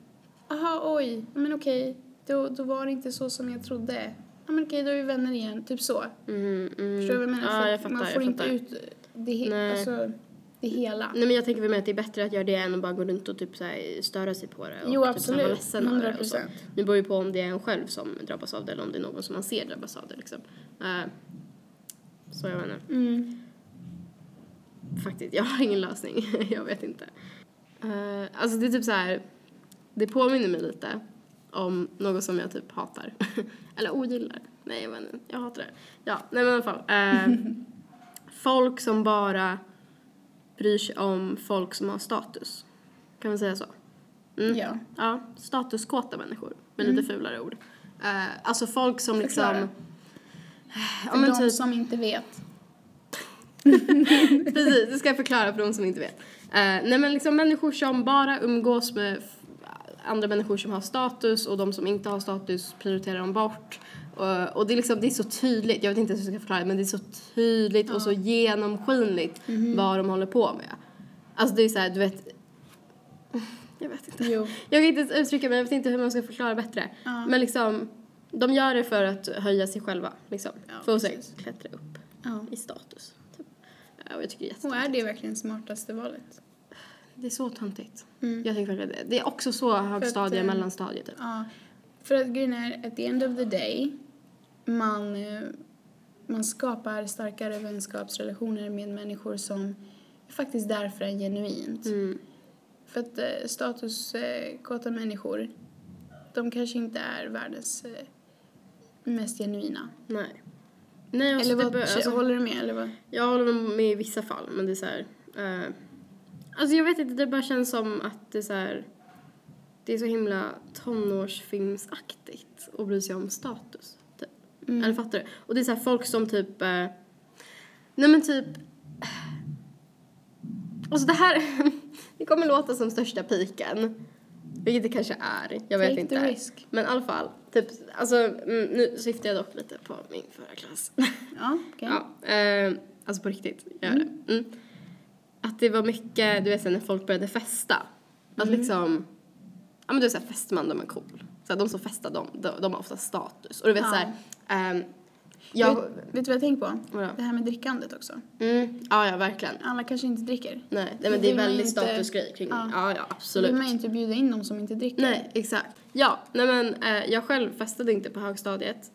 Speaker 1: Aha, oj, ja, men okej, då, då var det inte så som jag trodde. Ja, men okej, då är vi vänner igen. Typ så.
Speaker 2: Mm, mm.
Speaker 1: Förstår du vad jag menar?
Speaker 2: Ja,
Speaker 1: För
Speaker 2: jag
Speaker 1: att
Speaker 2: fattar.
Speaker 1: man får
Speaker 2: jag
Speaker 1: inte
Speaker 2: fattar.
Speaker 1: ut det, he-
Speaker 2: Nej.
Speaker 1: alltså, det hela.
Speaker 2: Nej men jag tänker väl mer att det är bättre att göra det än att bara gå runt och typ så här, störa sig på det. Och
Speaker 1: Jo,
Speaker 2: typ så här
Speaker 1: absolut.
Speaker 2: vara ledsen över det
Speaker 1: Hundra
Speaker 2: alltså. och så.
Speaker 1: procent.
Speaker 2: Det beror ju på om det är en själv som drabbas av det eller om det är någon som man ser drabbas av det liksom. Eh, så jag menar.
Speaker 1: Mm.
Speaker 2: Faktiskt, jag har ingen lösning. [laughs] jag vet inte. Eh, alltså det är typ så här. Det påminner mig lite om något som jag typ hatar. [laughs] Eller ogillar. Nej jag vet inte, jag hatar det. Ja, nej men i alla fall.
Speaker 1: [laughs]
Speaker 2: Eh, folk som bara bryr sig om folk som har status. Kan man säga så? Mm.
Speaker 1: Ja. Mm.
Speaker 2: Ja, statuskåta människor. Med lite fulare ord. Eh, alltså folk som
Speaker 1: Förklara.
Speaker 2: liksom...
Speaker 1: För de
Speaker 2: typ.
Speaker 1: som inte vet.
Speaker 2: Precis, det ska jag förklara för de som inte vet. Eh, nej men liksom människor som bara umgås med f- andra människor som har status och de som inte har status prioriterar de bort. Och, och det, är liksom, det är så tydligt, jag vet inte hur jag ska förklara det, men det är så tydligt och så genomskinligt
Speaker 1: Mhm.
Speaker 2: vad de håller på med. Alltså det är så här, du vet... [sighs] Jag vet inte.
Speaker 1: Jo.
Speaker 2: Jag kan inte ens uttrycka mig, jag vet inte hur man ska förklara bättre.
Speaker 1: Ja.
Speaker 2: Men liksom, de gör det för att höja sig själva. Liksom,
Speaker 1: Ja,
Speaker 2: för att sen
Speaker 1: precis.
Speaker 2: klättra upp
Speaker 1: Ja.
Speaker 2: i status. Typ. Eh, Och jag tycker det är jätte-
Speaker 1: Och är det verkligen smartaste valet?
Speaker 2: Det är så töntigt.
Speaker 1: Mm.
Speaker 2: Jag tycker verkligen det. Det är också så högstadie,
Speaker 1: eh,
Speaker 2: mellanstadie typ.
Speaker 1: Ja, För att grejen är, at the end of the day, man, eh, man skapar starkare vänskapsrelationer med människor som faktiskt därför är genuint.
Speaker 2: Mm.
Speaker 1: För att eh, statuskåta människor, de kanske inte är världens eh, mest genuina.
Speaker 2: Nej. Nej alltså,
Speaker 1: Eller
Speaker 2: det
Speaker 1: vad,
Speaker 2: bör- alltså,
Speaker 1: håller du med? Eller vad?
Speaker 2: Jag håller nog med i vissa fall, men det är så här... Eh, alltså jag vet inte, det bara känns som att det är så här... Det är så himla tonårsfilmsaktigt att bry sig om status. Typ.
Speaker 1: Mm.
Speaker 2: Eller fattar du? Och det är så här folk som typ... Eh, nej men typ... Alltså det här... [laughs] det kommer låta som största piken. Vilket det kanske är, jag vet
Speaker 1: Take
Speaker 2: inte.
Speaker 1: the risk.
Speaker 2: Men i alla fall, typ, alltså, mm, nu syftar jag dock lite på min förra klass. [laughs]
Speaker 1: Ja, okej.
Speaker 2: Ja, eh, alltså på riktigt, gör det. Mm. Att det var mycket, du vet sen när folk började festa. Att liksom, ja men du vet såhär festman de är cool. Så här, de som festar de, de, de har ofta status. Och du vet
Speaker 1: Ja.
Speaker 2: såhär, ehm, jag,
Speaker 1: Vet, vet du vad jag tänker på?
Speaker 2: vadå?
Speaker 1: Det här med drickandet också.
Speaker 2: Mm, ja ja verkligen.
Speaker 1: Alla kanske inte dricker.
Speaker 2: Nej, nej men
Speaker 1: Vill
Speaker 2: det är
Speaker 1: man
Speaker 2: väldigt
Speaker 1: inte-
Speaker 2: statusgrej kring
Speaker 1: Ja.
Speaker 2: ja. ja ja
Speaker 1: Så vill
Speaker 2: absolut.
Speaker 1: man ju inte bjuda in de som inte dricker.
Speaker 2: Nej, exakt. Ja, nej men eh, jag själv festade inte på högstadiet.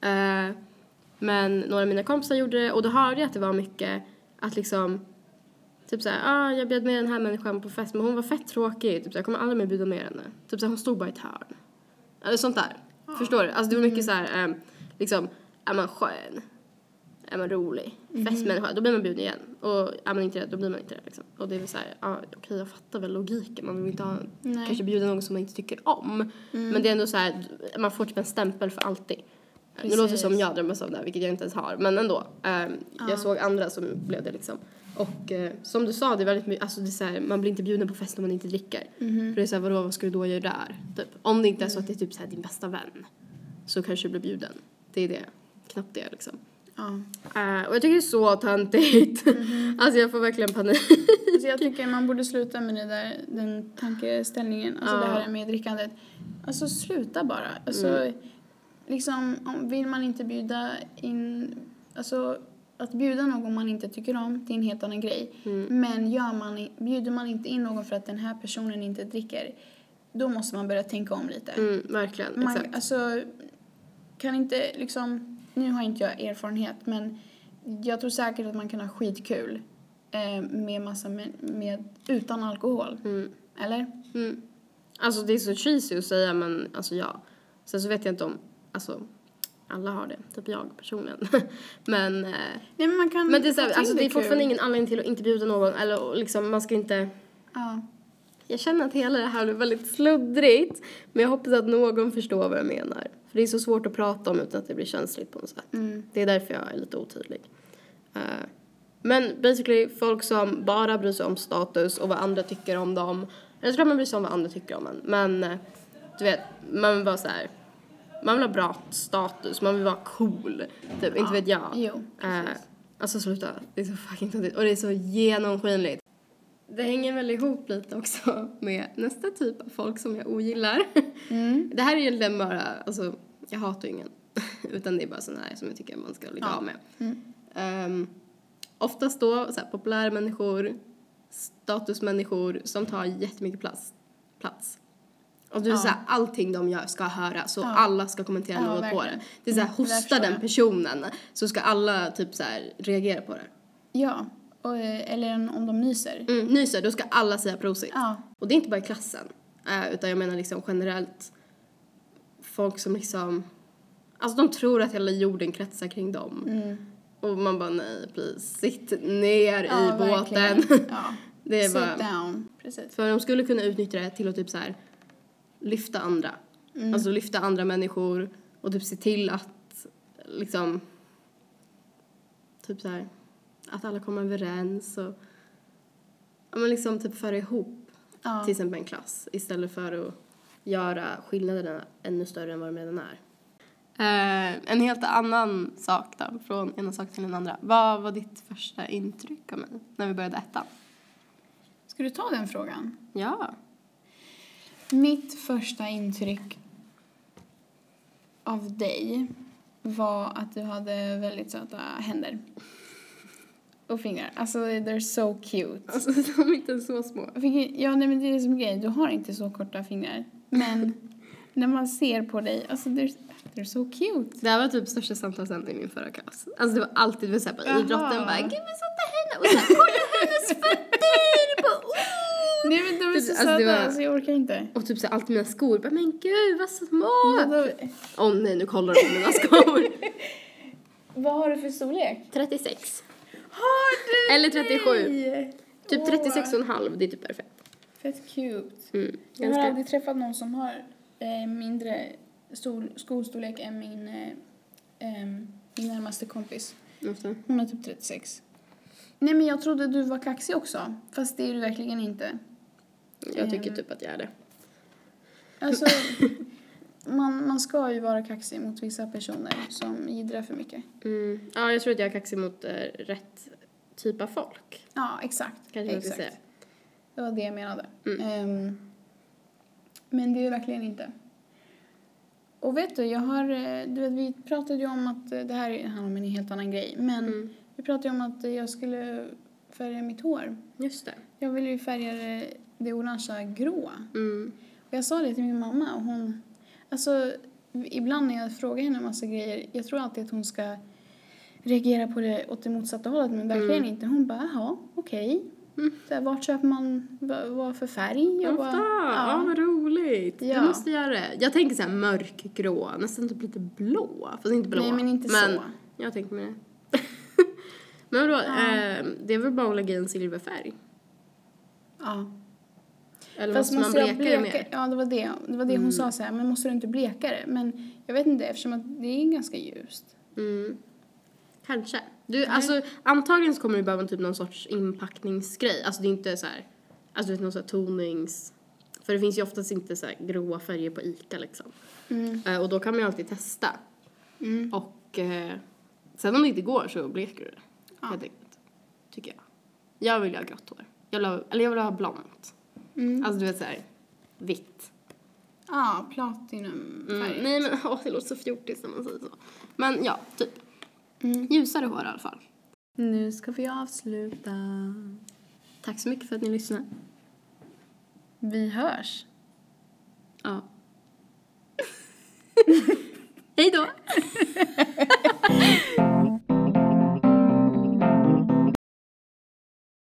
Speaker 2: Eh, men några av mina kompisar gjorde det och då hörde jag att det var mycket att liksom Typ såhär, ah, jag bjöd med den här människan på fest men hon var fett tråkig. Typ såhär, jag kommer aldrig mer bjuda med henne. Typ såhär, hon stod bara i ett hörn. Eller sånt där.
Speaker 1: Ah.
Speaker 2: Förstår du? Alltså det var mycket så
Speaker 1: Mm.
Speaker 2: såhär, ehm, liksom, är man skön? Är man rolig?
Speaker 1: Mhm.
Speaker 2: Festmänniska? Då blir man bjuden igen. Och är man inte det, då blir man inte det liksom. Och det är väl såhär, ja ah, okej jag fattar väl logiken. Man vill inte ha,
Speaker 1: Nej. Mm.
Speaker 2: kanske bjuda någon som man inte tycker om. Men det är ändå såhär, man får typ en stämpel för alltid. Nu låter det
Speaker 1: Precis.
Speaker 2: som jag drömmer om det här, vilket jag inte ens har. Men ändå. ehm,
Speaker 1: Ja.
Speaker 2: Jag såg andra som blev det liksom. Och eh, som du sa, det är väldigt mycket, alltså det är så här, man blir inte bjuden på fest om man inte dricker.
Speaker 1: Mhm.
Speaker 2: Mm. För det är såhär, vadå, vad ska du då göra där? Typ. Om det inte är så att det är typ så här, din bästa vän så kanske du blir bjuden. Det är det, knappt det liksom.
Speaker 1: Ja.
Speaker 2: Eh, och jag tycker det är så töntigt. alltså jag får verkligen panik.
Speaker 1: Alltså jag tycker man borde sluta med det där, den tankeställningen, alltså
Speaker 2: Ja. Mm.
Speaker 1: det här med drickandet. Alltså sluta bara. Alltså, liksom, om, vill man inte bjuda in, alltså att bjuda någon man inte tycker om, det är en helt annan grej.
Speaker 2: Mm.
Speaker 1: Men gör man, i- bjuder man inte in någon för att den här personen inte dricker, då måste man börja tänka om lite.
Speaker 2: Mm, verkligen,
Speaker 1: Man,
Speaker 2: exakt.
Speaker 1: alltså, kan inte liksom, nu har inte jag erfarenhet men jag tror säkert att man kan ha skitkul eh, med massa med, med, utan alkohol.
Speaker 2: Mm.
Speaker 1: Eller?
Speaker 2: Mm. Alltså det är så cheesy att säga men alltså ja. Sen så vet jag inte om, alltså alla har det, typ jag personligen. [laughs] men, eh,
Speaker 1: Nej men man kan
Speaker 2: men det är, så här,
Speaker 1: få till
Speaker 2: alltså, det är fortfarande
Speaker 1: kul.
Speaker 2: ingen anledning till att inte bjuda någon eller och liksom man ska inte
Speaker 1: Ja.
Speaker 2: jag känner att hela det här blir väldigt sluddrigt men jag hoppas att någon förstår vad jag menar. För det är så svårt att prata om utan att det blir känsligt på något sätt.
Speaker 1: Mm.
Speaker 2: Det är därför jag är lite otydlig. Eh, men basically folk som bara bryr sig om status och vad andra tycker om dem. Eller så kan man bryr sig om vad andra tycker om en. Men eh, du vet, man vill vara så här. Man vill ha bra status, man vill vara cool. Typ, inte vet jag.
Speaker 1: Jo,
Speaker 2: Eh,
Speaker 1: precis.
Speaker 2: alltså sluta, det är så fucking töntigt. Och det är så genomskinligt. Det hänger väl ihop lite också med nästa typ av folk som jag ogillar. [laughs]
Speaker 1: Mm.
Speaker 2: Det här är egentligen bara, alltså jag hatar ju ingen. [laughs] Utan det är bara sådana här som jag tycker man ska ligga
Speaker 1: Ja.
Speaker 2: av med.
Speaker 1: Mm.
Speaker 2: Ehm, oftast då så här, populära människor, statusmänniskor som tar jättemycket plats. plats. Och du
Speaker 1: Ja.
Speaker 2: är så här, allting de gör ska höras och
Speaker 1: Ja.
Speaker 2: alla ska kommentera
Speaker 1: Ja,
Speaker 2: något på
Speaker 1: verkligen.
Speaker 2: det. Det är så här,
Speaker 1: Mm, det där
Speaker 2: hosta
Speaker 1: förstår
Speaker 2: den
Speaker 1: jag.
Speaker 2: personen så ska alla typ så här, reagera på det.
Speaker 1: Ja. Och, eh, eller om- om de nyser.
Speaker 2: Mm, nyser, då ska alla säga prosit.
Speaker 1: Ja.
Speaker 2: Och det är inte bara i klassen, eh, utan jag menar liksom generellt folk som liksom, alltså de tror att hela jorden kretsar kring dem.
Speaker 1: Mm.
Speaker 2: Och man bara nej, please, sitt ner
Speaker 1: ja,
Speaker 2: i båten. [laughs]
Speaker 1: verkligen. Ja.
Speaker 2: Det är
Speaker 1: Sit
Speaker 2: bara,
Speaker 1: down. Precis.
Speaker 2: för de skulle kunna utnyttja det till att typ så här lyfta andra.
Speaker 1: Mm.
Speaker 2: Alltså lyfta andra människor och typ se till att liksom, typ så här, att alla kommer överens och, ja men liksom typ föra ihop
Speaker 1: Ja.
Speaker 2: till exempel en klass istället för att göra skillnaderna ännu större än vad de redan är. Eh, en helt annan sak då, från ena sak till den andra. Vad var ditt första intryck av mig när vi började ettan?
Speaker 1: Ska du ta den frågan?
Speaker 2: Ja.
Speaker 1: Mitt första intryck av dig var att du hade väldigt söta händer. Och fingrar. Alltså, they're so cute.
Speaker 2: Alltså [laughs] de är inte så små. [laughs]
Speaker 1: Jag fick- Ja, nej, men det är som grej. Du har inte så korta fingrar. Men när man ser på dig, alltså they're, they're so cute.
Speaker 2: Det här var typ största samtalsämnet i min förra klass. Alltså det var alltid vi såhär på
Speaker 1: Jaha.
Speaker 2: idrotten bara gud men sånt henne och så kolla hennes fötter! Bara, oh!
Speaker 1: Nej men de är
Speaker 2: Typ,
Speaker 1: så
Speaker 2: alltså,
Speaker 1: söta
Speaker 2: det var-
Speaker 1: så jag orkar inte.
Speaker 2: Och typ såhär alltid mina skor bara men gud vad små!
Speaker 1: Vadå?
Speaker 2: Åh nej nu kollar de på mina skor.
Speaker 1: Vad har du för storlek?
Speaker 2: 36.
Speaker 1: Har du
Speaker 2: Eller 37.
Speaker 1: dig?
Speaker 2: Typ
Speaker 1: Åh.
Speaker 2: 36 och en halv, det är typ perfekt.
Speaker 1: Fett cute.
Speaker 2: Mm,
Speaker 1: Jag har
Speaker 2: ganska.
Speaker 1: aldrig träffat någon som har eh, mindre stor, skostorlek än min, eh, ehm, min närmaste kompis.
Speaker 2: Måste.
Speaker 1: Hon är typ 36. Nej men jag trodde du var kaxig också. Fast det är du verkligen inte.
Speaker 2: Jag tycker typ att jag är det.
Speaker 1: Alltså,
Speaker 2: [laughs]
Speaker 1: man, man ska ju vara kaxig mot vissa personer som jiddrar för mycket.
Speaker 2: Mm. Ja, jag tror att jag är kaxig mot eh, rätt typ av folk.
Speaker 1: Ja, exakt.
Speaker 2: Kanske jag ska
Speaker 1: Exakt.
Speaker 2: säga.
Speaker 1: Det var det jag menade.
Speaker 2: Mm.
Speaker 1: Ehm, men det är ju verkligen inte. Och vet du, jag har, eh, du vet, vi pratade ju om att, eh, det här handlar om en helt annan grej, men
Speaker 2: Mm.
Speaker 1: vi pratade ju om att eh, jag skulle färga mitt hår.
Speaker 2: Just det.
Speaker 1: Jag ville ju färga det, det orangea grå.
Speaker 2: Mm.
Speaker 1: Och jag sa det till min mamma och hon, alltså ibland när jag frågar henne en massa grejer, jag tror alltid att hon ska reagera på det åt det motsatta hållet men verkligen
Speaker 2: Mm.
Speaker 1: inte. Hon bara, jaha, okej.
Speaker 2: Mm.
Speaker 1: Så här, Vart köper man, vad, vad för färg?
Speaker 2: Jag
Speaker 1: bara,
Speaker 2: bara, ja. vad roligt.
Speaker 1: Ja.
Speaker 2: Jag måste göra det. Jag tänker så här mörkgrå, nästan typ lite blå. Fast inte blå.
Speaker 1: Nej men inte så.
Speaker 2: jag tänker mig det. [laughs] men vadå,
Speaker 1: Ja.
Speaker 2: eh, det är väl bara att lägga i en silverfärg?
Speaker 1: Ja.
Speaker 2: Eller
Speaker 1: Fast
Speaker 2: måste,
Speaker 1: måste
Speaker 2: man
Speaker 1: jag
Speaker 2: bleka det
Speaker 1: bleka-
Speaker 2: mer? Mm.
Speaker 1: Ja det var det, det, var det hon sa så här, men måste du inte bleka det? Men jag vet inte eftersom att det är ganska ljust.
Speaker 2: Mm. Kanske. Du, alltså, antagligen så kommer du behöva typ någon sorts inpackningsgrej. Alltså det är inte så här, alltså du vet någon så här tonings... För det finns ju oftast inte så här gråa färger på ICA liksom.
Speaker 1: Mm.
Speaker 2: Eh, och då kan man ju alltid testa.
Speaker 1: Mm.
Speaker 2: Och eh, sen om det inte går så bleker du det.
Speaker 1: Ja.
Speaker 2: Helt enkelt. Tycker jag. Jag vill ju ha grått hår. Jag vill ha, eller jag vill ha blont.
Speaker 1: Mm.
Speaker 2: Alltså du vet såhär, vitt.
Speaker 1: Ja, platinumfärg.
Speaker 2: Mm. Nej men [laughs] åh, det låter så fjortigt när man säger så. Men ja, typ.
Speaker 1: Mm.
Speaker 2: Ljusare hår i alla fall.
Speaker 1: Nu ska vi avsluta.
Speaker 2: Tack så mycket för att ni lyssnade.
Speaker 1: Vi hörs.
Speaker 2: Ja. Hej då!